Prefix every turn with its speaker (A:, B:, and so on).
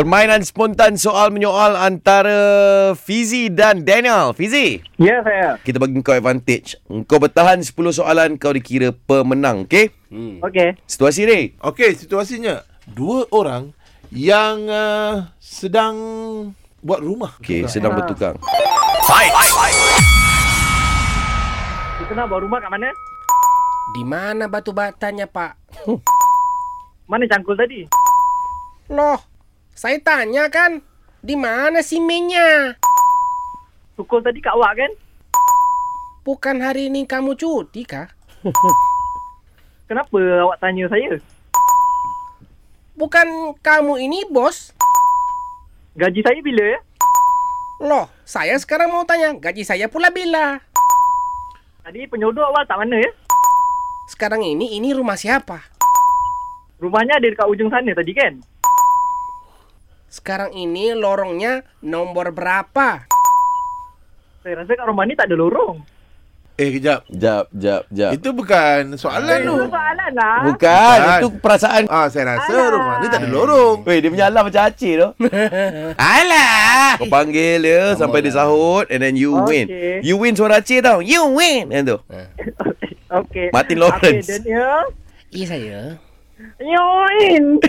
A: Permainan spontan soal menyoal antara Fizi dan Daniel. Fizi,
B: Ya saya.
A: kita bagi kau advantage. Kau bertahan 10 soalan, kau dikira pemenang, okey?
B: Okey.
A: Situasi ni,
C: Okey, situasinya dua orang yang uh, sedang buat rumah.
A: okey, sedang bertukang.
B: Kita nak buat rumah kat mana?
D: Di mana batu batanya, Pak?
B: Mana cangkul tadi?
D: Loh, saya tanya kan, di mana simennya?
B: Sukul tadi kat awak kan?
D: Bukan hari ini kamu cuti kah?
B: Kenapa awak tanya saya?
D: Bukan kamu ini bos?
B: Gaji saya bila ya?
D: Loh, saya sekarang mau tanya, gaji saya pula bila?
B: Tadi penyodok awak tak mana ya?
D: Sekarang ini ini rumah siapa?
B: Rumahnya ada dekat ujung sana tadi kan?
D: Sekarang ini lorongnya nomor berapa?
B: Saya rasa kat rumah ni tak ada lorong.
C: Eh, kejap.
A: Jap, jap, jap.
C: Itu bukan soalan tu.
B: Itu soalan lah.
A: Bukan,
C: Bukan.
A: itu perasaan.
C: Ah, saya rasa
B: Alah.
C: rumah ni tak ada lorong.
A: Weh, dia punya alam macam acik tu. Alah! Kau panggil dia sampai dia sahut and then you win.
B: Okey.
A: You win suara acik tau. You win. Yang tu.
B: Okey. ya.
A: Martin Lawrence.
B: Okey Daniel.
D: Iya saya.
B: Yoin.